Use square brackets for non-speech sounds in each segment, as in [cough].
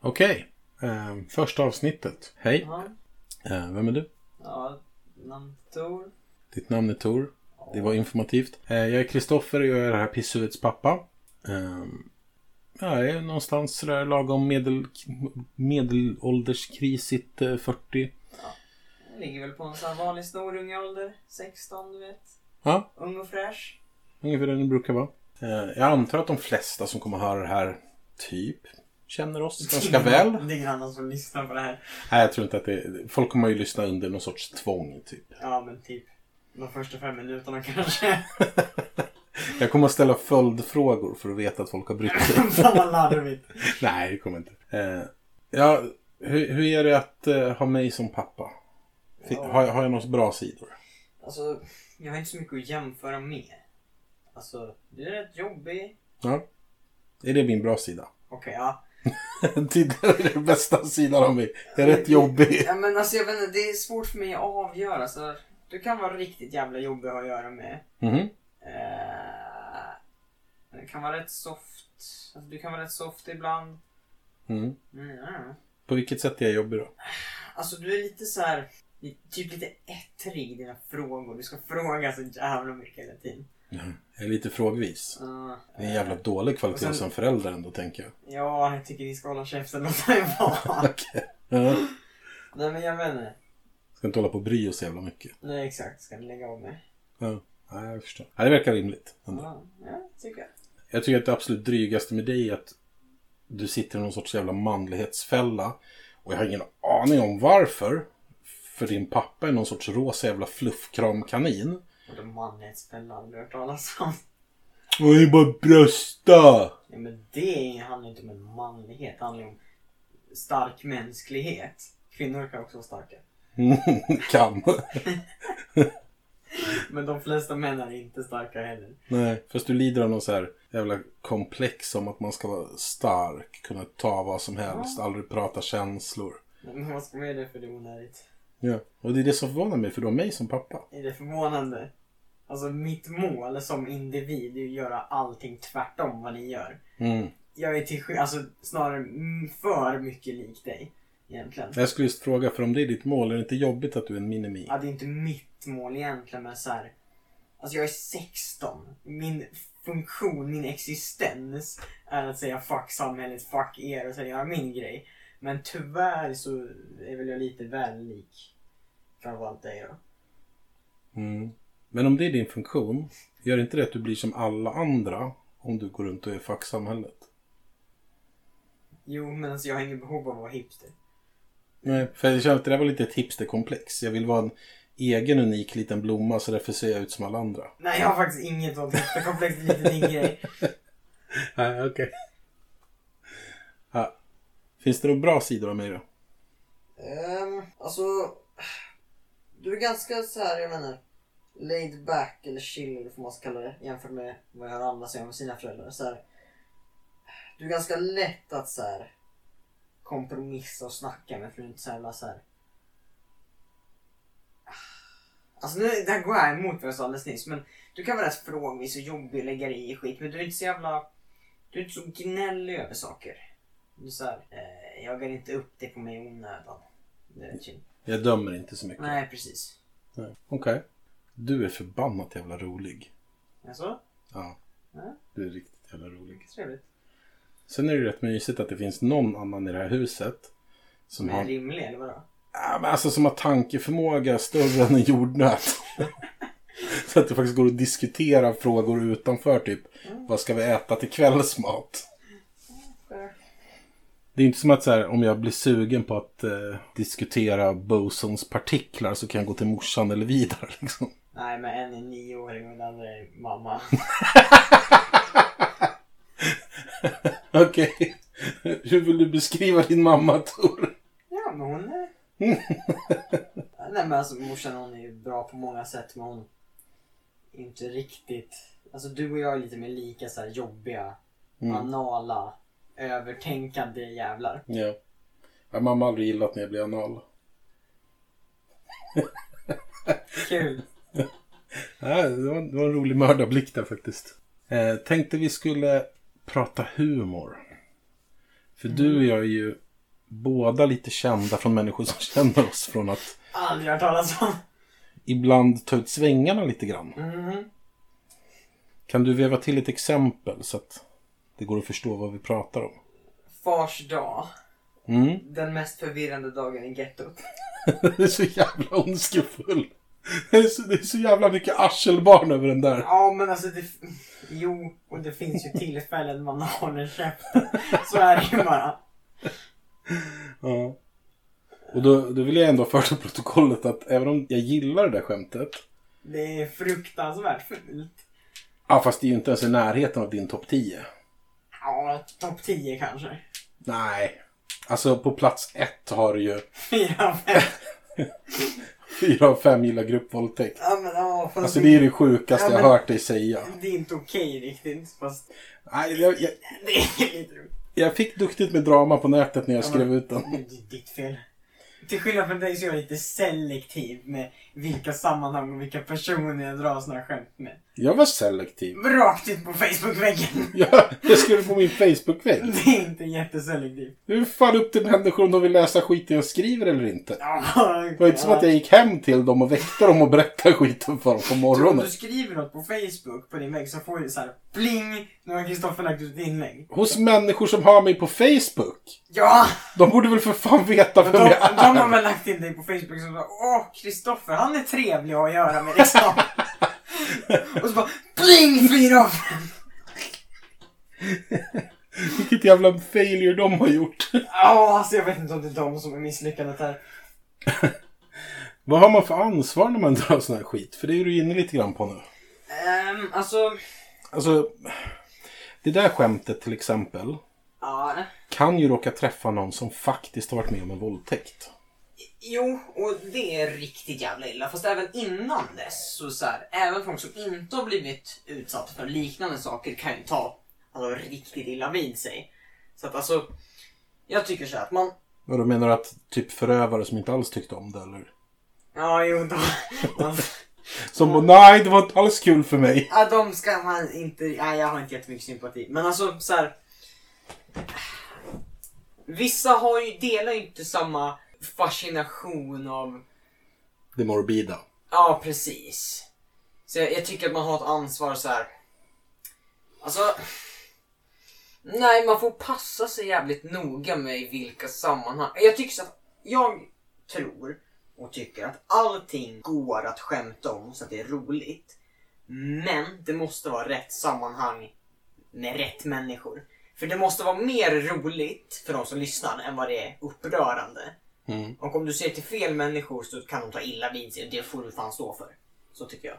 Okej. Eh, första avsnittet. Hej. Ja, Eh, vem är du? ja namn Tor. Ditt namn är Tor. Det var informativt. Eh, jag är Kristoffer och jag är det här pisshuvudets pappa. Eh, jag är någonstans sådär lagom medel, medelålderskrisigt eh, 40. Jag ligger väl på en sån här vanlig snorunge ålder. 16, du vet. Ja, Ung och fräsch. ungefär det ni brukar vara. Eh, jag antar att de flesta som kommer höra det här typ känner oss [laughs] ganska väl. Det är ingen annan som lyssnar på det här. Nej, jag tror inte att det... Folk kommer ju lyssna under någon sorts tvång typ. Ja, men typ. De första fem minuterna kanske. [laughs] Jag kommer att ställa följdfrågor för att veta att folk har brytt sig. Fan vad larvigt. Nej, det kommer inte. Eh, ja, hur, hur är det att eh, ha mig som pappa? Fin, Ja. har, jag- har jag några bra sidor? Alltså, jag har inte så mycket att jämföra med. Alltså, du är rätt jobbig. Ja. Är det min bra sida? [laughs] Okej, ja. Tidigare är det bästa sidan av mig. Jag är rätt jobbig. ja. men alltså jag vet inte, det är svårt för mig att avgöra. Så du kan vara riktigt jävla jobbig att ha att göra med. Mhm. Eh, det kan vara rätt soft. Alltså, du kan vara rätt soft ibland. Mm. Mm, ja. På vilket sätt är jag jobbig då? Alltså du är lite så här, li- typ lite ettrig i dina frågor. Du ska fråga så jävla mycket hela tiden. Jag är lite frågvis. Ja. Det är en jävla dålig kvalitet Och sen- som förälder ändå, tänker jag. Ja, jag tycker vi ska hålla käften och låta det vara. Okej. [laughs] Ja. [laughs] Nej men jag vet inte. Ska inte hålla på och bry oss så jävla mycket. Nej exakt, ska ni lägga av med? Ja. Nej, jag förstår. Ja, det verkar rimligt. ändå. Ja, ja tycker jag. Jag tycker att det absolut drygaste med dig är att du sitter i någon sorts jävla manlighetsfälla. Och jag har ingen aning om varför. För din pappa är någon sorts rosa jävla fluffkramkanin. Och de manlighetsfällan har du hört talas om. Och det är bara brösta! Ja, men det handlar inte om en manlighet, det handlar om stark mänsklighet. Kvinnor kan också vara starka. Mm, [laughs] kan. Men de flesta män är inte starka heller. Nej, fast du lider av någon så här jävla komplex om att man ska vara stark, kunna ta vad som helst, aldrig prata känslor. Men vad ska man göra det för? Det är onödigt. Ja, och det är det som förvånar mig, för du har mig som pappa. Är det förvånande? Alltså mitt mål som individ är ju att göra allting tvärtom vad ni gör. Mm. Jag är till sk- alltså, snarare mm, för mycket lik dig egentligen. Jag skulle just fråga, för om det är ditt mål, är det inte jobbigt att du är en minimi? Ja, det är inte mitt mål egentligen men så här. Alltså jag är 16. Min funktion, min existens är att säga fuck samhället, fuck er och sen göra min grej. Men tyvärr så är väl jag lite väl lik framförallt dig då. Mm. Men om det är din funktion, gör inte det att du blir som alla andra om du går runt och är fuck samhället? Jo, men alltså jag har inget behov av att vara hipster. Nej, för jag känner att det där var lite ett hipsterkomplex. Jag vill vara en egen unik liten blomma så därför ser jag ut som alla andra. Nej, jag har faktiskt inget sånt hipsterkomplex. Det är lite din grej. Nej, okej. Ja. Finns det några bra sidor av mig då? Um, alltså, du är ganska så här, jag menar, laid back eller chill eller vad man ska kalla det jämfört med vad jag hör andra säga om sina föräldrar. Så här, du är ganska lätt att så här, kompromissa och snacka med för du är inte så jävla så här. Alltså nu, det här går jag emot vad jag sa alldeles nyss men du kan vara rätt frågvis och jobbig och lägga dig i skit men du är inte så jävla, du är inte så gnällig över saker. Du är så här, eh, jagar inte upp dig på mig i onödan. Det är chill. Jag dömer inte så mycket. Nej precis. Nej. Okej. Du är förbannat jävla rolig. Jaså? Ja. Ja. Du är riktigt jävla rolig. Mycket Alltså, trevligt. Sen är det ju rätt mysigt att det finns någon annan i det här huset som Men har rimlig eller vadå? Ja, men alltså som har tankeförmåga större än en jordnöt. Så att det faktiskt går att diskutera frågor utanför typ. Vad ska vi äta till kvällsmat? Det är inte som att så här, om jag blir sugen på att eh, diskutera bosons partiklar så kan jag gå till morsan eller vidare. [laughs] Liksom. Nej men en är nioåring och den andra är [laughs] mamma. Okej. Hur vill du beskriva din mamma Tor? ja men hon är... [laughs] Nej men alltså morsan hon är ju bra på många sätt men hon... är Inte riktigt... Alltså du och jag är lite mer lika så här jobbiga, Mm. anala, övertänkande jävlar. Ja. ja mamma har aldrig gillat när jag blir anal. Kul! Ja, det, var, det var en rolig mördarblick där faktiskt. Eh, tänkte vi skulle prata humor. För du och jag är ju båda lite kända från människor som [laughs] känner oss från att Aldrig hört talas om. ibland ta ut svängarna lite grann. Mhm. Kan du veva till ett exempel så att det går att förstå vad vi pratar om? [laughs] Fars dag. Mm. Den mest förvirrande dagen i gettot. Den är så jävla ondskefull. Det är, så, det är så jävla mycket arselbarn över den där. Ja men alltså det... [laughs] Jo, och det finns ju tillfällen man [laughs] håller käften. Så är det ju bara. Ja. Och då, då vill jag ändå föra till protokollet att även om jag gillar det där skämtet. Det är fruktansvärt fult. Ja, fast det är ju inte ens i närheten av din topp 10. Ja, topp 10 kanske. Nej. Alltså på plats ett har du ju [laughs] Fyra, fem. fyra av fem gillar gruppvåldtäkt. Ja men ja, fast Alltså det, det är det sjukaste Ja, jag men- hört dig säga. det är inte okej riktigt. Fast Nej, jag, jag, det är [laughs] lite roligt. jag fick duktigt med drama på nätet när jag Ja, skrev men- ut den. Det är ditt fel. Till skillnad från dig så är jag lite selektiv med vilka sammanhang och vilka personer jag drar såna här skämt med. Jag var selektiv. [laughs] Rakt ut på Facebook-väggen. [laughs] Jag, jag skrev det på min Facebook-vägg. Det är inte jätteselektivt. Det är ju fan upp till människor om de vill läsa skiten jag skriver eller inte. Ja, Det var inte som att jag gick hem till dem och väckte dem och berättade skiten för dem på Så Om morgonen. du skriver något på Facebook på din vägg så får du så här pling, nu har Kristoffer lagt ut ett inlägg. Hos människor som har mig på Facebook. Ja! De borde väl för fan veta Men vem de, jag de har är. väl lagt in dig på Facebook som bara Åh, Kristoffer, han är trevlig att ha att göra med liksom. Och så bara pling, fyra av fem. Vilket jävla failure de har gjort. Ja, alltså jag vet inte om det är de som är misslyckandet här. [laughs] Vad har man för ansvar när man drar sån här skit? För det är du inne lite grann på nu. Ehm, alltså, Alltså, det där skämtet till exempel ja. kan ju råka träffa någon som faktiskt har varit med om en våldtäkt. Jo, och det är riktigt jävla illa. Fast även innan dess, så, så här, även folk som inte har blivit utsatta för liknande saker kan ju ta alltså, riktigt illa vid sig. Så att alltså, jag tycker så här att man... Och då menar du att typ förövare som inte alls tyckte om det eller? Ja, jo, de, de, Som bara, nej det var inte alls kul för mig. ja, de ska man inte... Nej, jag har inte jättemycket sympati. Men alltså, så här... Vissa har ju, delar ju inte samma fascination av Det morbida. Ja, precis. Så jag, jag tycker att man har ett ansvar så här. Alltså... Nej, man får passa sig jävligt noga med i vilka sammanhang. Jag tycker så att jag tror och tycker att allting går att skämta om så att det är roligt. Men det måste vara rätt sammanhang med rätt människor. För det måste vara mer roligt för de som lyssnar än vad det är upprörande. Mm. Och om du ser till fel människor så kan de ta illa vid sig och det får du fan stå för. Så tycker jag.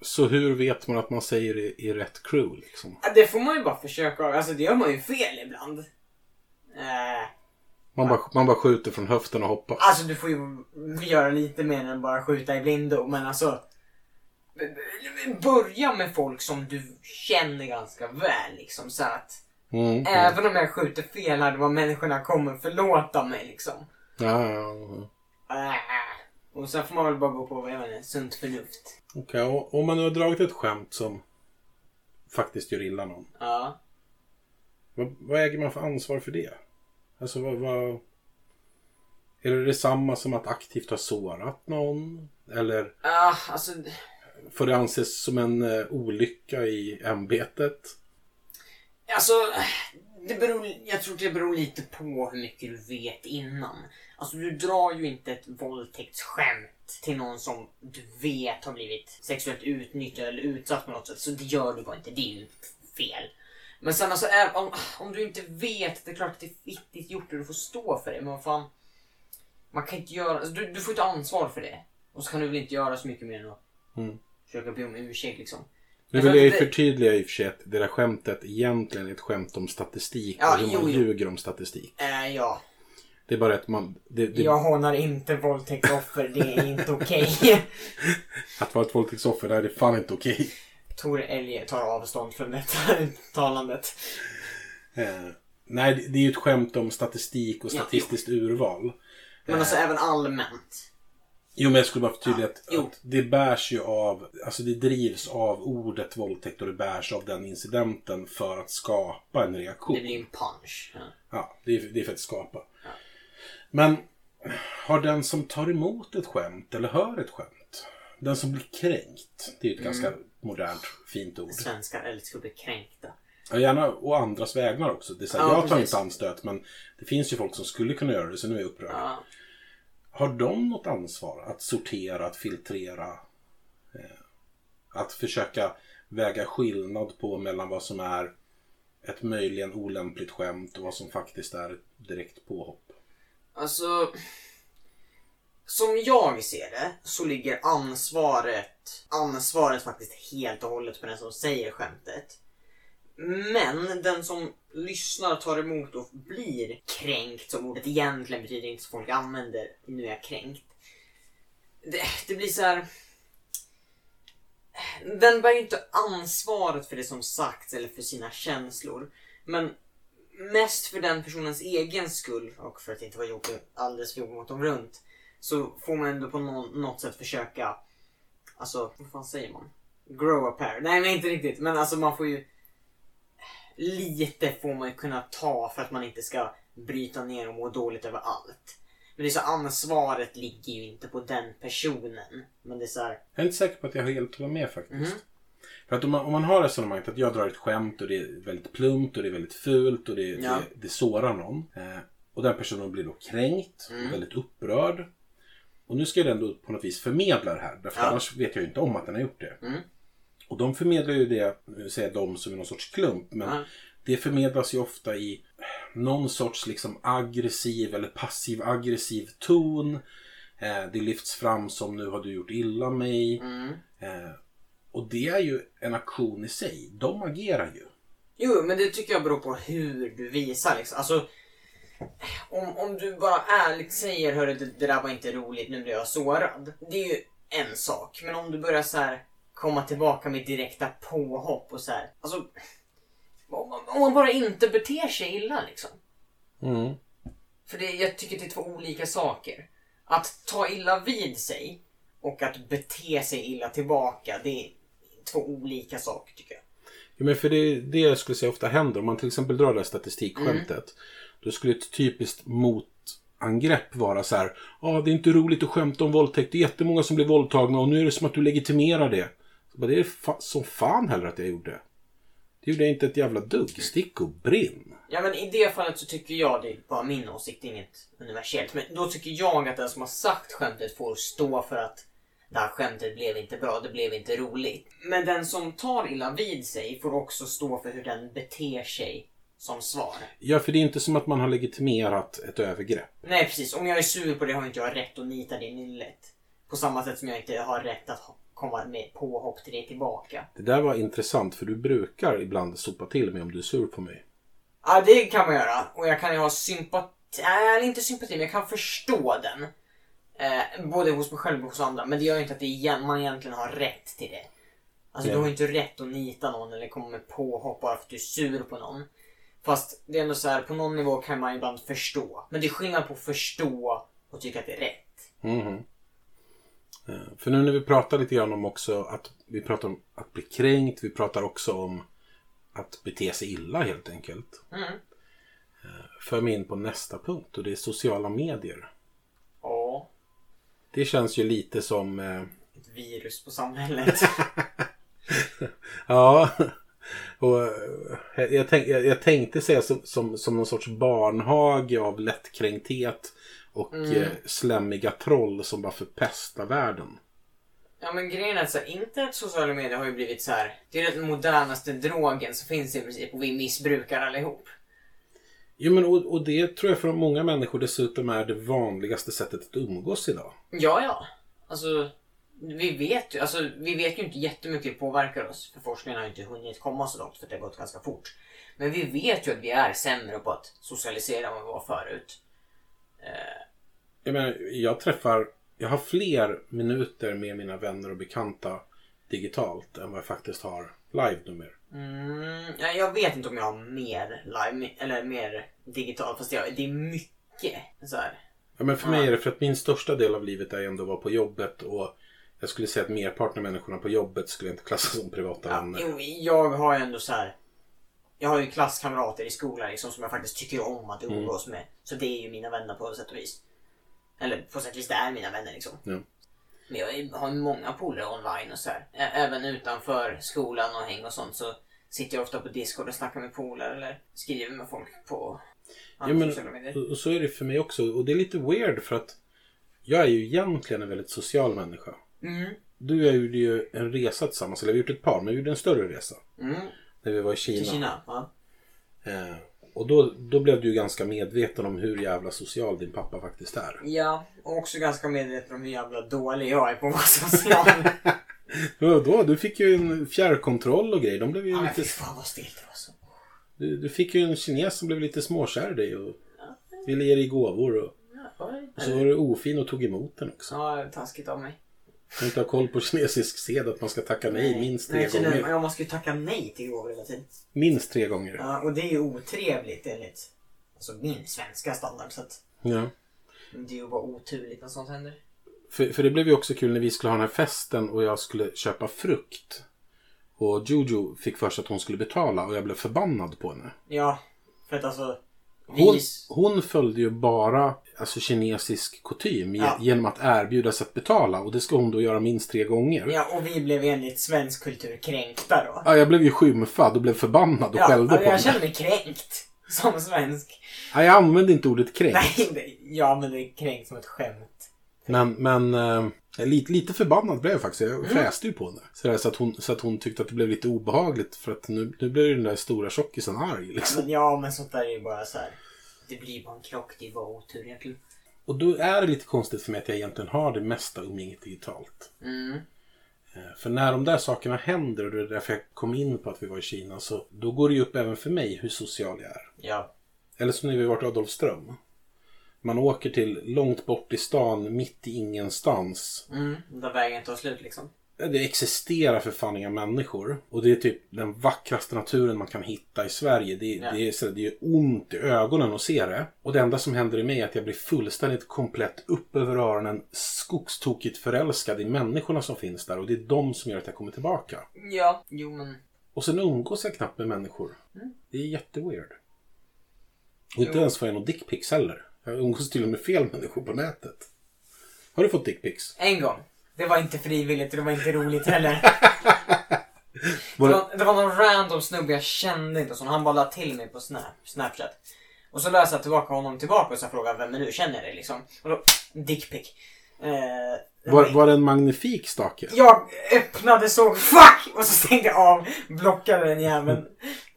Så hur vet man att man säger det i rätt crew liksom? Ja, Det får man ju bara försöka. Alltså det gör man ju fel ibland. Eh, Man bara, man bara skjuter från höften och hoppas. alltså du får ju göra lite mer än bara skjuta i blindo. Men alltså. Börja med folk som du känner ganska väl liksom. Så att Mm. Ja, även om jag skjuter fel här, vad människorna kommer förlåta mig liksom. ja, ja. Eh, och sen får man väl bara gå på, jag vet inte, sunt förnuft. Okej, och om man nu har dragit ett skämt som faktiskt gör illa någon. Ja. Vad, vad äger man för ansvar för det? Alltså vad, vad... Är det detsamma som att aktivt ha sårat någon? Eller Ah, alltså. får det anses som en eh, olycka i ämbetet? Alltså, det beror, jag tror det beror lite på hur mycket du vet innan. Alltså du drar ju inte ett våldtäktsskämt till någon som du vet har blivit sexuellt utnyttjad eller utsatt på något sätt. Så det gör du bara inte, det är ju fel. Men sen alltså, även om, om du inte vet, det är klart att det är fittigt gjort och du får stå för det. Men vad fan, man kan inte göra, alltså, du, du får inte ansvar för det. Och så kan du väl inte göra så mycket mer än att Mm. försöka be om ursäkt liksom. Nu Alltså, vill jag ju det- förtydliga i och för sig att det där skämtet egentligen är ett skämt om statistik Ja, och hur jo, man jo. ljuger om statistik. Eh, ja. Det är bara att man... Det, det, Jag hånar inte våldtäktsoffer, det är inte okej. [laughs] Att vara ett våldtäktsoffer, det här är fan inte okej. Tor Elje tar avstånd från detta uttalandet. Eh, nej, det- det är ju ett skämt om statistik och Ja. statistiskt urval. Men alltså även allmänt. Jo, men jag skulle bara förtydliga att, Jo. att det bärs ju av, alltså det drivs av ordet våldtäkt och det bärs av den incidenten för att skapa en reaktion. Det blir en punch. Ja. Ja, det är, det är för att skapa. Men har den som tar emot ett skämt eller hör ett skämt, den som blir kränkt, det är ju ett Mm. ganska modernt fint ord. Svenskar älskar att bli kränkta. Ja, gärna å andras vägnar också. Det är så här, Ja, jag tar precis. inte anstöt men det finns ju folk som skulle kunna göra det så nu är jag upprörd. Ja. Har de något ansvar att sortera, att filtrera? Eh, att försöka väga skillnad på mellan vad som är ett möjligen olämpligt skämt och vad som faktiskt är ett direkt påhopp? Alltså... Som jag ser det så ligger ansvaret, ansvaret faktiskt helt och hållet på den som säger skämtet. Men den som lyssnar, tar emot och blir kränkt, som ordet egentligen betyder inte som folk använder, nu är jag kränkt. Det, det blir så här. Den bär ju inte ansvaret för det som sagts eller för sina känslor. Men mest för den personens egen skull och för att inte vara jobbig, alldeles för jobbig mot dem runt så får man ändå på någon, något sätt försöka, alltså vad fan säger man? Grow a pair. Nej men inte riktigt men alltså man får ju lite får man ju kunna ta för att man inte ska bryta ner och må dåligt över allt. Men det är så ansvaret ligger ju inte på den personen. Men det är så här, Jag är inte säker på att jag helt håller med faktiskt. Mhm. För att om man, om man har resonemanget att jag drar ett skämt och det är väldigt plumpt och det är väldigt fult och det, Ja. det, det sårar någon. Eh, och den personen blir då kränkt Mm. och väldigt upprörd. Och nu ska jag ändå på något vis förmedla det här. Därför Ja. annars vet jag ju inte om att den har gjort det. Mm. Och de förmedlar ju det, nu säger jag de som är någon sorts klump, men Ja. det förmedlas ju ofta i någon sorts liksom aggressiv eller passiv aggressiv ton. Eh, det lyfts fram som nu har du gjort illa mig. mm. Eh, och det är ju en aktion i sig. De agerar ju. Jo, men det tycker jag beror på hur du visar liksom. Alltså, om, om du bara ärligt säger hörru det, det där var inte roligt, nu blev jag sårad. Det är ju en sak. Men om du börjar så här komma tillbaka med direkta påhopp och så här. Alltså, om, man- om man bara inte beter sig illa liksom. För det, jag tycker det är två olika saker. Att ta illa vid sig och att bete sig illa tillbaka, det är två olika saker tycker jag. Ja, men för det är det jag skulle säga ofta händer. Om man till exempel drar det här statistikskämtet. Då skulle ett typiskt motangrepp vara så här. Ja, ah, det är inte roligt att skämta om våldtäkt. Det är jättemånga som blir våldtagna och nu är det som att du legitimerar det. Så bara, det är fa- som fan heller att jag gjorde. Det gjorde jag inte ett jävla dugg. Stick och brinn. Ja men i det fallet så tycker jag, det är bara min åsikt, det är inget universellt. Men då tycker jag att den som har sagt skämtet får stå för att det här skämtet blev inte bra, det blev inte roligt. Men den som tar illa vid sig får också stå för hur den beter sig som svar. Ja, för det är inte som att man har legitimerat ett övergrepp. Nej precis, om jag är sur på det har inte jag rätt att nita det i nyllet. På samma sätt som jag inte har rätt att ha- komma med påhopp till det tillbaka. Det där var intressant för du brukar ibland sopa till mig om du är sur på mig. Ja, det kan man göra. Och jag kan ju ha sympati, eller inte sympati, men jag kan förstå den. Eh, både hos mig själv och hos andra. Men det gör ju inte att det igen, man egentligen har rätt till det. Alltså Ja. du har ju inte rätt att nita någon eller komma med påhopp bara för att du är sur på någon. Fast det är ändå så här, på någon nivå kan man ibland förstå. Men det är skillnad på att förstå och tycka att det är rätt. Mhm. Eh, För nu när vi pratar lite grann om också att vi pratar om att bli kränkt, vi pratar också om att bete sig illa helt enkelt. eh, Mm. För mig in på nästa punkt och det är sociala medier. Ja. Det känns ju lite som, eh, [laughs] Ett virus på [laughs] samhället. ja, och eh, jag, tänk, jag, jag tänkte säga som, som, som någon sorts barnhage av lättkränkthet och eh, slämmiga troll som bara förpestar världen. Ja men grejen är att så här, internet sociala medier har ju blivit så här. Det är den modernaste drogen som finns i princip och vi missbrukar allihop. Jo, men och, och det tror jag för många människor dessutom är det vanligaste sättet att umgås idag. Ja ja. Alltså vi vet ju, alltså, vi vet ju inte jättemycket hur det påverkar oss. För forskningen har ju inte hunnit komma så långt för det har gått ganska fort. Men vi vet ju att vi är sämre på att socialisera än vad vi var förut. Eh, Jag menar, jag träffar, jag har fler minuter med mina vänner och bekanta digitalt än vad jag faktiskt har live nummer. Mm, ja, jag vet inte om jag har mer live eller mer digitalt fast jag, det är mycket så här. Ja, men för mig är det för att min största del av livet är ändå att vara på jobbet och jag skulle säga att merparten av människorna på jobbet skulle jag inte klassa som privata Ja, vänner. jo, jag har ju ändå så här. Jag har ju klasskamrater i skolan liksom, som jag faktiskt tycker om att umgås med. Så det är ju mina vänner på sätt och vis. Eller på sätt och vis, det är mina vänner liksom. Ja. Men jag är- har ju många polare online och så här. Ä- Även utanför skolan och häng och sånt så sitter jag ofta på Discord och snackar med polare eller skriver med folk på Ja, andra men, sociala medier. och- och så är det för mig också. Och det är lite weird för att jag är ju egentligen en väldigt social människa. Mm. Du och jag gjorde ju en resa tillsammans, eller vi har gjort ett par, men vi gjorde en större resa. Mm. När vi var i Kina. Till Kina. Ja. Eh, och då, då blev du ju ganska medveten om hur jävla social din pappa faktiskt är. ja, och också ganska medveten om hur jävla dålig jag är på [laughs] vad som slag. [laughs] Ja, då, du fick ju en fjärrkontroll och grejer. De blev ju Ja, men fy lite, fan vad stelt det var. Så. du, du fick ju en kines som blev lite småkär i dig och ville ge dig gåvor. Och, och så var du ofin och tog emot den också. Ja, taskigt av mig. Du kan inte ha koll på kinesisk sed att man ska tacka nej minst tre Nej, så nu- gånger. Jag måste ju tacka nej till gåvor hela tiden. Minst tre gånger. Ja, och det är ju otrevligt enligt alltså, min svenska standard. Så att Ja. det är ju bara oturligt när sånt händer. För, för det blev ju också kul när vi skulle ha den här festen och jag skulle köpa frukt. Och Jojo fick för sig att hon skulle betala och jag blev förbannad på henne. Ja, för att alltså... Hon, Vi... hon följde ju bara alltså, kinesisk kutym ge- Ja. genom att erbjuda sig att betala och det ska hon då göra minst tre gånger. Ja. Ja, och vi blev enligt svensk kultur kränkta då. jag blev ju skymfad och blev förbannad och Ja, skällde jag på henne. känner mig kränkt. [laughs] Som svensk. Ja, jag använde inte ordet kränkt, Nej, det- ja men det är kränkt som ett skämt. men, men eh, lite, lite förbannad blev jag faktiskt. Mm. Jag fräste ju på henne. Så, där, så, att hon, så att hon tyckte att det blev lite obehagligt för att nu, nu blev ju den där stora tjockisen arg. Liksom. Men ja, men sånt där är ju bara så här. Det blir bara en krock, det är bara otur egentligen. Och då är det lite konstigt för mig att jag egentligen har det mesta umgänget digitalt. Mm. Eh, För när de där sakerna händer, och det är därför jag kom in på att vi var i Kina, så då går det ju upp även för mig hur social jag är. Ja, Eller som när vi varit i Adolfström. Man åker till långt bort i stan, mitt i ingenstans. Mm, där vägen tar slut liksom. Eh, Det existerar för fan inga människor. Och det är typ den vackraste naturen man kan hitta i Sverige. Det, Ja. det, är, så, det är ont i ögonen att se det. Och det enda som händer i mig är att jag blir fullständigt komplett upp över öronen, skogstokigt förälskad i människorna som finns där. Och det är de som gör att jag kommer tillbaka. Ja. Jo men. Och sen umgås jag knappt med människor. Det är jätteweird. Och inte Mm. Jo. ens får jag någon dickpics heller. Jag umgås till och med fel människor på nätet. Har du fått [laughs] dickpics? En gång. Det var inte frivilligt och det var inte roligt heller. Det [laughs] Var det- var, det var någon random snubbe jag kände inte och så han bara la till mig på Snap, Snapchat. Och så löste jag tillbaka honom tillbaka och så frågade jag vem är du, känner jag dig liksom? Och då, dickpic. Eh, Var, var det en magnifik stake? Jag öppnade såg fuck och så stängde jag av, blockade den jäveln.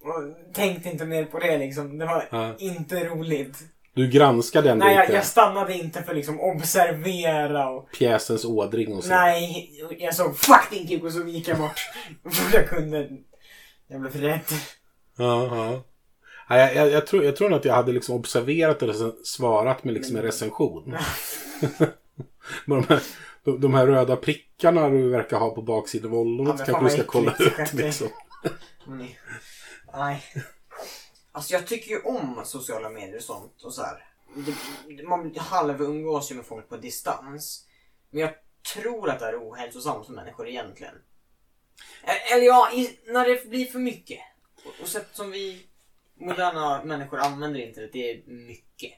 Och tänkte inte mer på det liksom. Det var Ja. inte roligt. Du granskade ändå Nej, jag, inte jag stannade inte för liksom observera och pjäsens ådring och så. Nej, jag såg fuck din kuk och så gick jag bort. För jag kunde. Jag blev rädd. Ja, ja. Nej, jag, jag, jag, tror, jag tror nog att jag hade liksom observerat och sen svarat med liksom en Mm. recension. [laughs] Men de, här, de, de här röda prickarna du verkar ha på baksidan av ollonet Ja, men fan kanske du vad ska kolla äckligt, ut. skämtar jag. Liksom. Nej. Nej. Alltså jag tycker ju om sociala medier och sånt och så här. Det, man halvumgås ju med folk på distans. Men jag tror att det är ohälsosamt för människor egentligen. E- Eller ja, i, när det blir för mycket. Och, och sätt som vi moderna människor använder internet, det är mycket.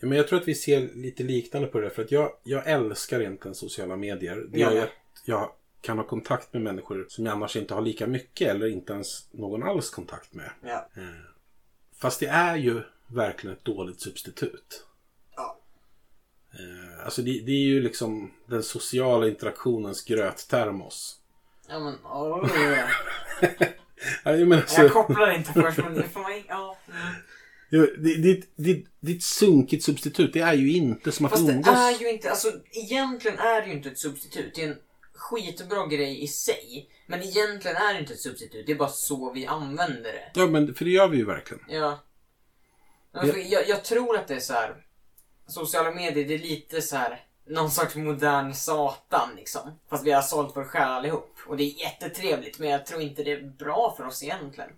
Ja, men jag tror att vi ser lite liknande på det där, för att jag, jag älskar egentligen sociala medier. Det Ja, gör ju ja. att jag kan ha kontakt med människor som jag annars inte har lika mycket eller inte ens någon alls kontakt med. Ja. Fast det är ju verkligen ett dåligt substitut. Ja. Eh, Alltså det, det är ju liksom den sociala interaktionens gröttermos. [laughs] Ja men, oh. Ja, Jag menar, alltså, Jag kopplar inte först men det får man ja. mm. det, det, det, det, det är ett sunkigt substitut. Det är ju inte som att Fast det umgås. är ju inte, alltså egentligen är det ju inte ett substitut. Det är en skitbra grej i sig. Men egentligen är det inte ett substitut. Det är bara så vi använder det. Ja, men för det gör vi ju verkligen. Ja. Men för Jag, jag tror att det är så här. Sociala medier det är lite så här. Någon sorts modern satan liksom. Fast vi har sålt vår själ allihop. Och det är jättetrevligt men jag tror inte det är bra för oss egentligen.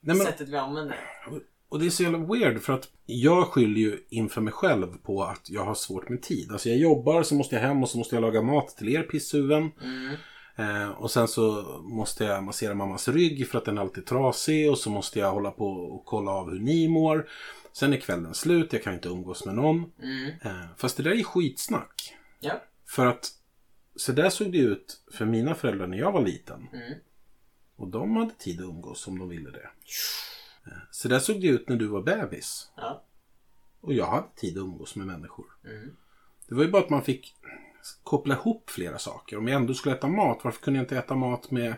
Nej, men, Sättet vi använder det. Och- Och det är så jävla weird för att jag skyller ju inför mig själv på att jag har svårt med tid. Alltså jag jobbar, så måste jag hem och så måste jag laga mat till er pisshuvuden. Eh, och sen så måste jag massera mammas rygg för att den alltid är trasig och så måste jag hålla på och kolla av hur ni mår. Sen är kvällen slut, jag kan inte umgås med någon. Eh, fast det där är skitsnack. Mm. Ja. För att så där såg det ut för mina föräldrar när jag var liten. Mm. Och de hade tid att umgås om de ville det. Eh, Så där såg det ut när du var bebis. Ja. Och jag hade tid att umgås med människor. Mm. Det var ju bara att man fick koppla ihop flera saker. Om jag ändå skulle äta mat, varför kunde jag inte äta mat med,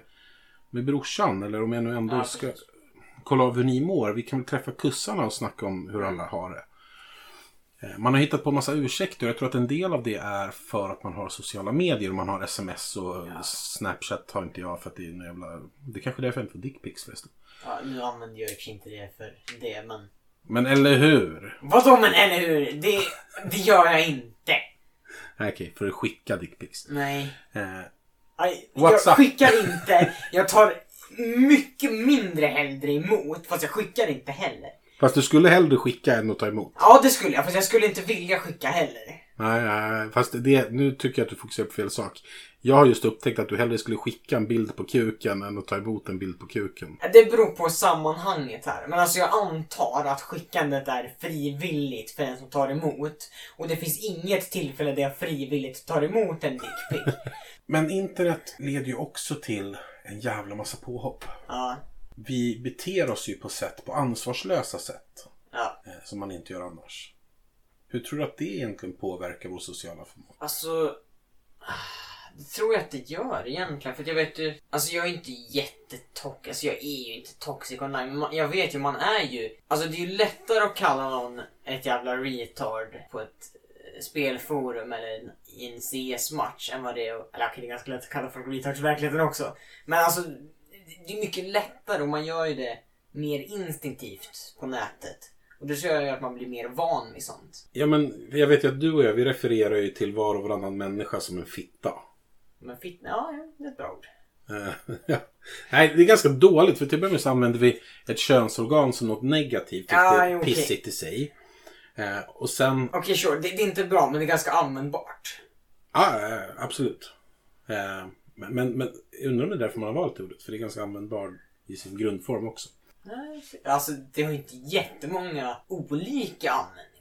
med brorsan? Eller om jag nu ändå Ja, ska precis. kolla av hur ni mår. Vi kan väl träffa kussarna och snacka om hur alla har det. Eh, Man har hittat på massa ursäkter och jag tror att en del av det är för att man har sociala medier. Man har sms och Ja. Snapchat har inte jag för att det är en jävla... Det är kanske är därför jag inte får dickpics förresten. Ja, nu använder jag ju inte det för det, men... Men eller hur? Vadå men eller hur? Det, det gör jag inte. Nej, Okej, för att skicka dickpics. Nej. Eh, Aj, WhatsApp. Jag skickar inte. Jag tar mycket mindre hellre emot. Fast jag skickar inte heller. fast du skulle hellre skicka än att ta emot. Ja, det skulle jag. Fast jag skulle inte vilja skicka heller. Nej, nej, nej, fast det, nu tycker jag att du fokuserar på fel sak. Jag har just upptäckt att du hellre skulle skicka en bild på kuken än att ta emot en bild på kuken. Det beror på sammanhanget här. Men alltså jag antar att skickandet är frivilligt för den som tar emot. Och det finns inget tillfälle där jag frivilligt tar emot en [laughs] dickpic. Men internet leder ju också till en jävla massa påhopp. ja, Vi beter oss ju på sätt, på ansvarslösa sätt, ja. eh, som man inte gör annars. Hur tror du att det egentligen påverkar vår sociala förmåga? Alltså... Det tror jag att det gör egentligen. För att jag vet ju... Alltså jag är inte jättetoxic. Alltså jag är ju inte toxic online. men man- Jag vet ju, man är ju... Alltså det är ju lättare att kalla någon ett jävla retard på ett eh, spelforum eller en- i en CS-match än vad det är... Eller okej, det är ganska lätt att kalla folk retards i verkligheten också. Men alltså, det är mycket lättare och man gör ju det mer instinktivt på nätet. Och det tror jag ju att man blir mer van vid sånt. Ja, men jag vet ju att du och jag, vi refererar ju till var och varannan människa som en fitta. Men fit... Ja, ja, det är ett bra ord. Eh, [laughs] ja. Nej, det är ganska dåligt. För till att börja med så använder vi ett könsorgan som något negativt. Vilket Ja, är jo, okej. pissigt i sig. Eh, och sen... Okej, sure. Det, det är inte bra, men det är ganska användbart. Ja, ja, ja, absolut. Eh, men, men, men jag undrar om det är därför man har valt ordet. För det är ganska användbart i sin grundform också. Alltså, det har ju inte jättemånga olika användningar.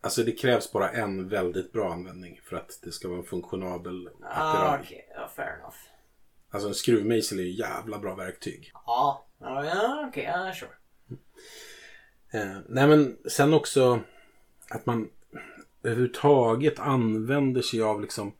Alltså det krävs bara en väldigt bra användning för att det ska vara en funktionabel Ah, attiralj. okej. Ja, fair enough. Alltså en skruvmejsel är ju jävla bra verktyg. Ja, ja, ja, okej. Ja, sure. Eh, nej men sen också att man överhuvudtaget använder sig av liksom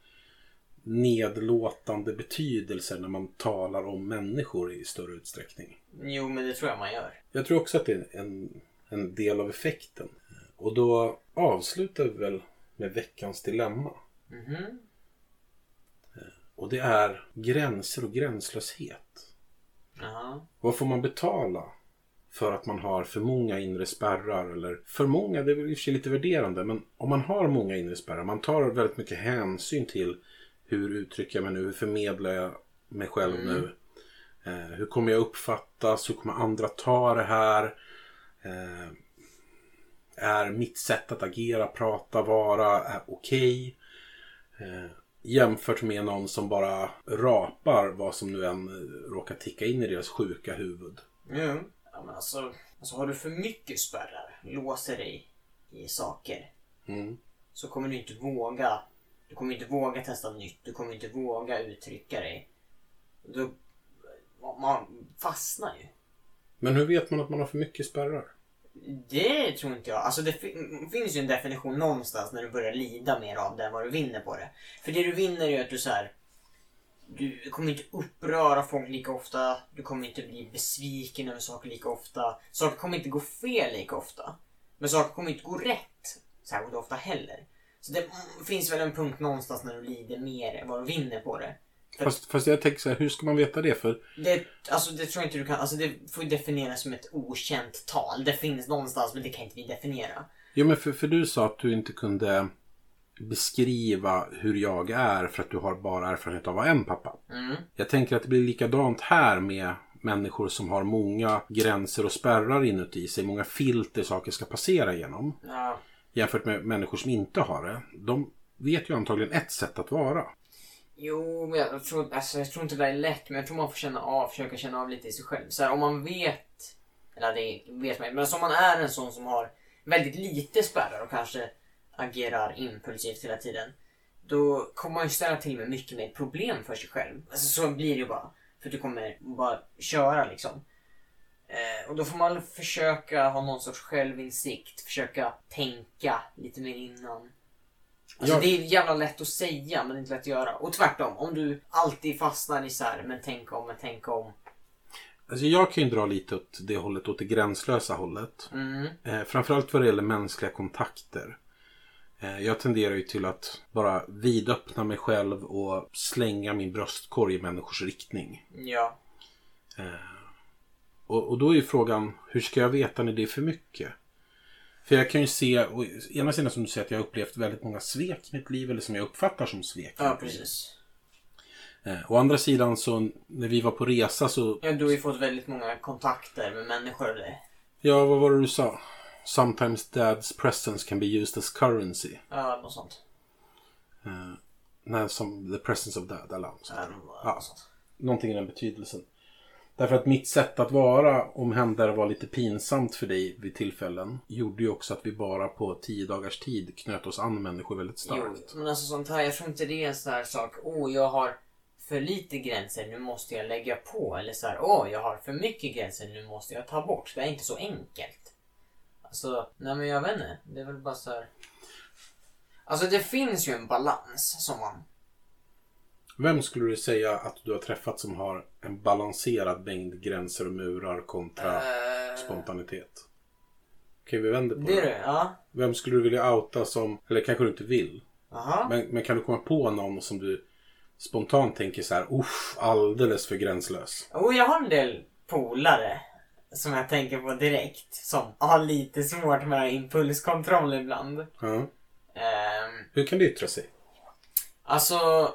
nedlåtande betydelser när man talar om människor i större utsträckning. Jo, men det tror jag man gör. Jag tror också att det är en, en del av effekten. Och då avslutar vi väl med veckans dilemma. Mhm. Och det är gränser och gränslöshet. Ja. Vad får man betala för att man har för många inre spärrar? Eller för många, det är väl i och för sig lite värderande, men om man har många inre spärrar, man tar väldigt mycket hänsyn till hur uttrycker jag mig nu, hur förmedlar jag mig själv nu? Eh, hur kommer jag uppfattas? Hur kommer andra ta det här? Eh, är mitt sätt att agera, prata, vara eh, okej? Eh, jämfört med någon som bara rapar vad som nu än eh, råkar ticka in i deras sjuka huvud. Jo. Ja, men alltså, alltså, har du för mycket spärrar, låser dig i saker, Mm. så kommer du inte våga. Du kommer inte våga testa nytt. Du kommer inte våga uttrycka dig. Då, man fastnar ju. Men hur vet man att man har för mycket spärrar? Det tror inte jag. Alltså det fin- finns ju en definition någonstans när du börjar lida mer av det än vad du vinner på det. För det du vinner är ju att du så här. Du kommer inte uppröra folk lika ofta. Du kommer inte bli besviken över saker lika ofta. Saker kommer inte gå fel lika ofta. Men saker kommer inte gå rätt särskilt ofta heller. Så det mm, finns väl en punkt någonstans när du lider mer än vad du vinner på det. Fast, fast jag tänker så här, hur ska man veta det? För Det, alltså det tror jag inte du kan, alltså det får ju definieras som ett okänt tal. Det finns någonstans men det kan inte vi definiera. Jo, men för, för du sa att du inte kunde beskriva hur jag är för att du har bara erfarenhet av att vara en pappa. Mm. Jag tänker att det blir likadant här med, människor som har många gränser och spärrar inuti sig, många filter saker ska passera genom. Ja. Jämfört med människor som inte har det. De vet ju antagligen ett sätt att vara. Jo, men jag tror, alltså, jag tror inte det där är lätt, men jag tror man får känna av, försöka känna av lite i sig själv. Så här, om man vet, eller det vet man inte, men alltså, om man är en sån som har väldigt lite spärrar och kanske agerar impulsivt hela tiden. Då kommer man ju ställa till med mycket mer problem för sig själv. Alltså, så blir det ju bara. För du kommer bara köra liksom. Eh, och då får man försöka ha någon sorts självinsikt, försöka tänka lite mer innan. Alltså, Jag- Det är jävla lätt att säga men inte lätt att göra. Och tvärtom, om du alltid fastnar i så här, men tänk om, men tänk om. Alltså jag kan ju dra lite åt det hållet, åt det gränslösa hållet. Mm. Eh, framförallt vad det gäller mänskliga kontakter. Eh, jag tenderar ju till att bara vidöppna mig själv och slänga min bröstkorg i människors riktning. Ja. Och, och då är ju frågan, hur ska jag veta när det är för mycket? För jag kan ju se, och, å ena sidan som du säger att jag har upplevt väldigt många svek i mitt liv, eller som jag uppfattar som svek. i Ja, mitt liv. precis. Eh, å andra sidan så när vi var på resa så, Ja, du har ju fått väldigt många kontakter med människor. Eller? ja vad var det du sa? Sometimes dad's presence can be used as currency. Ja, något sånt. Nej, som the presence of dad eller något sånt. Ja, något Ja. sånt. Någonting i den betydelsen. Därför att mitt sätt att vara, om händer var lite pinsamt för dig vid tillfällen, gjorde ju också att vi bara på tio dagars tid knöt oss an människor väldigt Jo, starkt. men alltså sånt här, jag tror inte det är en sån här sak, åh oh, jag har för lite gränser, nu måste jag lägga på. Eller så här, åh oh, jag har för mycket gränser, nu måste jag ta bort. Det är inte så enkelt. Alltså, nej men jag vet inte. Det är väl bara så här. Alltså det finns ju en balans som man... Vem skulle du säga att du har träffat som har en balanserad mängd gränser och murar kontra Eh, spontanitet? Okej, vi vänder på det är det. det, ja. Vem skulle du vilja outa som, eller kanske du inte vill, Aha. men, men kan du komma på någon som du spontant tänker så här, usch, alldeles för gränslös? Och jag har en del polare som jag tänker på direkt. Som har lite svårt med den här impulskontroll ibland. Ja. Ehm, Hur kan det yttra sig? Alltså,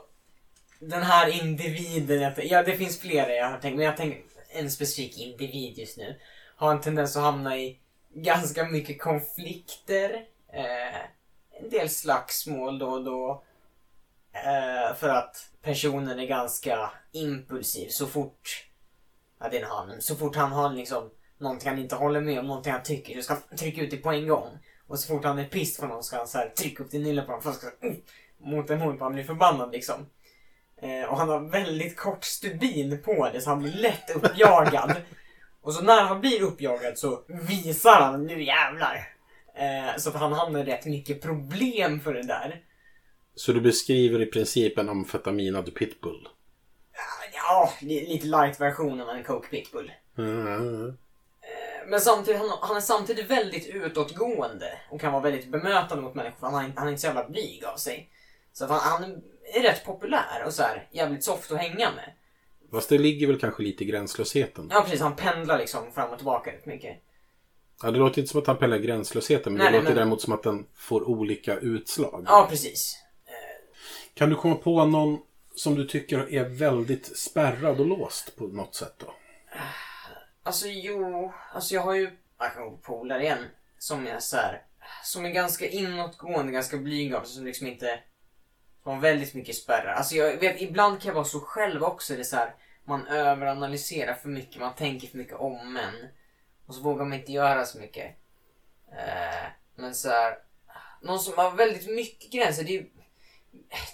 den här individen. jag- Ja, det finns flera jag har tänkt, men jag tänker en specifik individ just nu. Har en tendens att hamna i ganska mycket konflikter. Eh, en del slagsmål då och då. Eh, för att personen är ganska impulsiv så fort, ja det är han, men så fort han har liksom någonting han inte håller med om, någonting han tycker, så ska han trycka ut det på en gång. Och så fort han är pissed på någon ska han så här trycka upp det nylla på honom. För han ska, uh, mot en hund, för han blir förbannad liksom. Eh, och han har väldigt kort stubin på det så han blir lätt uppjagad. och så när han blir uppjagad så visar han nu jävlar. Eh, så att han hamnar i rätt mycket problem för det där. Så du beskriver i princip en amfetaminad pitbull? Ja, li- lite light-versionen av en Coke Pitbull. Eh, Mm. Men samtidigt, han, han är samtidigt väldigt utåtgående och kan vara väldigt bemötande mot människor. för Han, är- han är inte så jävla blyg av sig. Så att han, han är rätt populär och så här, jävligt soft att hänga med. Fast det ligger väl kanske lite i gränslösheten? Ja precis, han pendlar liksom fram och tillbaka rätt mycket. Ja, det låter inte som att han pellar gränslösheten, men Nej, det nej, låter men- däremot som att den får olika utslag. Ja precis. Eh, Kan du komma på någon som du tycker är väldigt spärrad och låst på något sätt då? Alltså jo, alltså jag har ju jag kan gå på polare igen. Som är så här, som är ganska inåtgående, ganska blyg av sig, som liksom inte har väldigt mycket spärrar. Alltså jag vet, ibland kan jag vara så själv också. Det är så här, man överanalyserar för mycket, man tänker för mycket om en. Och så vågar man inte göra så mycket. Eh, men så här, någon som har väldigt mycket gränser, det är ju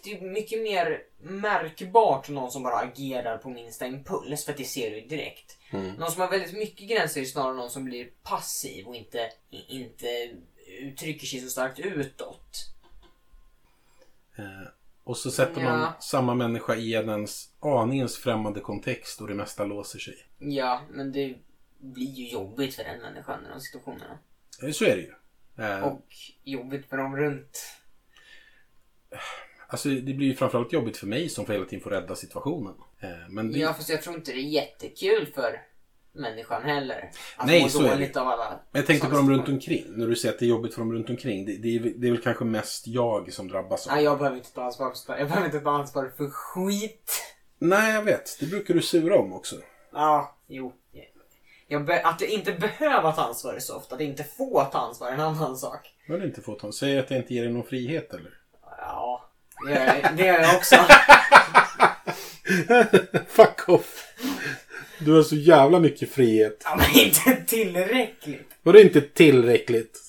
det är mycket mer märkbart än någon som bara agerar på minsta impuls för att det ser du ju direkt. Någon som har väldigt mycket gränser är snarare någon som blir passiv och inte, i- inte uttrycker sig så starkt utåt. Eh, och så sätter man Ja. samma människa i en ens aningens främmande kontext och det mesta låser sig. Ja, men det blir ju jobbigt för den människan i de situationerna. Eh, Så är det ju. Eh, Och jobbigt för dem runt. Alltså, det blir ju framförallt jobbigt för mig som får hela tiden får rädda situationen. Eh, men det, Ja, fast jag tror inte det är jättekul för människan heller. Att Nej, må så är det. dåligt av alla Men jag tänkte på sådana dem runt situationer. omkring. När du säger att det är jobbigt för dem runt omkring. Det, det, är, väl- det är väl kanske mest jag som drabbas av. Nej, jag behöver inte ta ansvar för, jag behöver inte ta ansvar för skit. Nej, jag vet. Det brukar du sura om också. Ja, Jo. Jag be- att inte behöva ta ansvar är soft. Att inte få ta ansvar är en annan sak. Men inte fått honom. Säg att jag inte ger dig någon frihet eller? [laughs] Ja, det gör, det gör jag också. Fuck off! Du har så jävla mycket frihet. Ja, men inte tillräckligt. Och det är inte tillräckligt.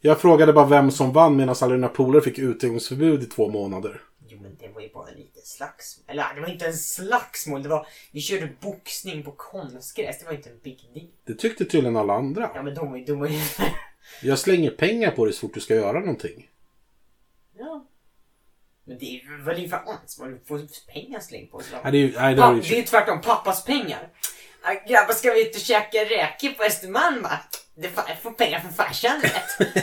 Jag frågade bara vem som vann medan alla dina polare fick utegångsförbud i två månader. Jo, men det var ju bara en liten slagsmål. Eller det var inte en slagsmål. Det var, vi körde boxning på konstgräs. Det var inte en big deal. Det tyckte tydligen alla andra. Ja, men de var ju dumma i Jag slänger pengar på dig så fort du ska göra någonting. [laughs] Ja. Men det är väl det är för ansvar? Du får pengar slängd på sig. Nej, det är ju... Nej, det Ja, har du det är ju... ju tvärtom. Pappas pengar. Ah, grabbar, ska vi ut och käka räkor på Östermalm va? Det är fan, jag får pengar från [laughs] farsan vet.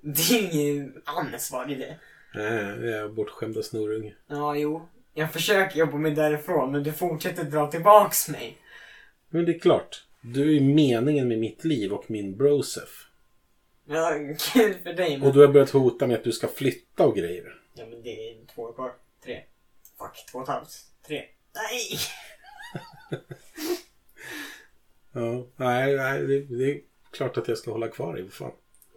det är ingen ansvar i det. Nej, det är bortskämda snorunge. Ja, jo. Jag försöker jobba mig därifrån men du fortsätter dra tillbaks mig. Men det är klart. Du är meningen med mitt liv och min brosef. Ja, kul för dig men... Och du har börjat hota med att du ska flytta och grejer. Ja, men det är två år kvar. Tre. Fuck, två och ett halvt. Tre. Nej! Ja, nej, nej det, det är klart att jag ska hålla kvar dig. Vad fan.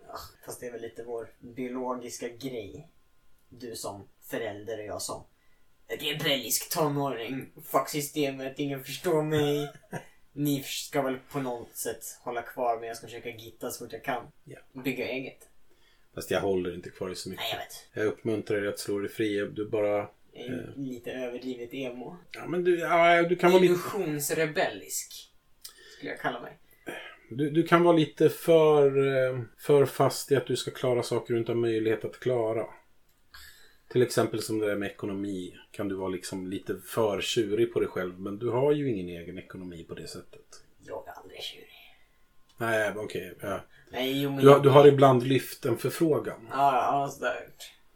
Ja, fast det är väl lite vår biologiska grej. Du som förälder och jag som rebellisk tonåring. Fuck systemet, ingen förstår mig. Ni ska väl på något sätt hålla kvar men jag ska försöka gitta så fort jag kan. Ja. Bygga eget. Fast jag håller inte kvar dig så mycket. Nej jag vet. Jag uppmuntrar dig att slå dig fri. Du bara... Jag är Lite överdrivet emo. Ja, men du, ja, du kan vara lite... Illusionsrebellisk. Skulle jag kalla mig. Du, du kan vara lite för, eh, för fast i att du ska klara saker du inte har möjlighet att klara. Till exempel som det där med ekonomi. Kan du vara liksom lite för tjurig på dig själv. Men du har ju ingen egen ekonomi på det sättet. Jag är aldrig tjurig. Nej, okej. ja. Nej jo men... du, har- du har ibland lyft en förfrågan. [laughs] Ja, ja sådär.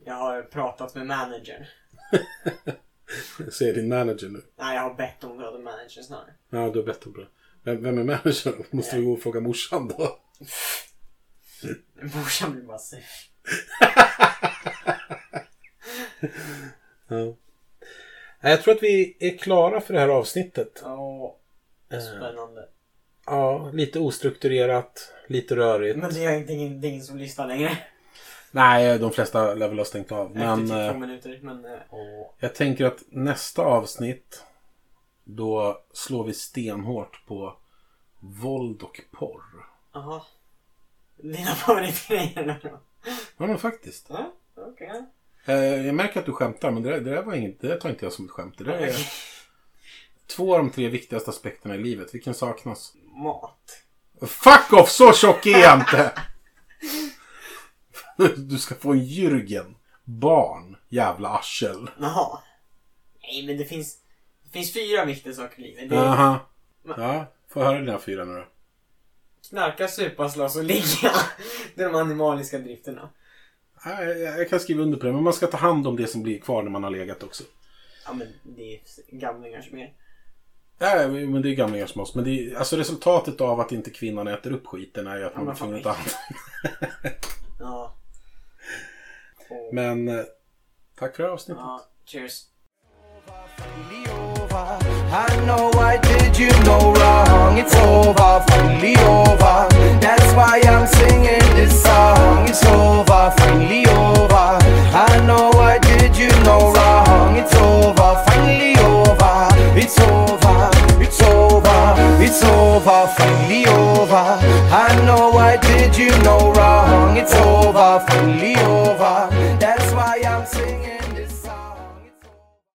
Jag har pratat med managern. Säger din manager nu. Nej jag har bett om att managern snarare. Ja, du har bett om det. Vem, vem är managern? [laughs] Måste vi gå och fråga morsan då? [laughs] Morsan blir bara sur. Ja. Nej, Jag tror att vi är klara för det här avsnittet. Ja, Eh. spännande. Ja, lite ostrukturerat, lite rörigt. Men det är inte ingen, det är ingen som lyssnar längre. Nej, de flesta lär väl ha stängt av. Men Efter typ två eh, minuter. Men, eh, åh. jag tänker att nästa avsnitt då slår vi stenhårt på våld och porr. Jaha. Dina [laughs] favoritgrejer nu då? Ja, men faktiskt. Ja, okej. Eh, jag märker att du skämtar, men det där, det där var inget, det där tar inte jag som ett skämt. Det där är två av de tre viktigaste aspekterna i livet. Vilken saknas? Mat. Fuck off! Så tjock är jag inte! [laughs] Du ska få en Jürgen. Barn. Jävla arsel. Jaha. Nej, men det finns, det finns fyra viktiga saker i livet. Det är Aha. Ja, får höra dina fyra nu då. knarka, supa, slåss och ligga. [laughs] Det är de animaliska drifterna. Nej, Jag jag kan skriva under på det, men man ska ta hand om det som blir kvar när man har legat också. Ja, men det är gamlingar som är. Nej, men det är gamlingar som oss. Men det är, alltså resultatet av att inte kvinnan äter upp skiten är ju att man men är tvungen att ta fan. hand om Ja. Och, Men eh, tack för det här avsnittet. ja, cheers. Finally over. I know I did you no wrong. It's over, finally over. That's why I'm singing this song. It's over, finally over. I know I did you no wrong. It's over, finally over. It's over, it's over, it's over, finally over. I know I did you no wrong. It's over, finally over. That's why I'm singing.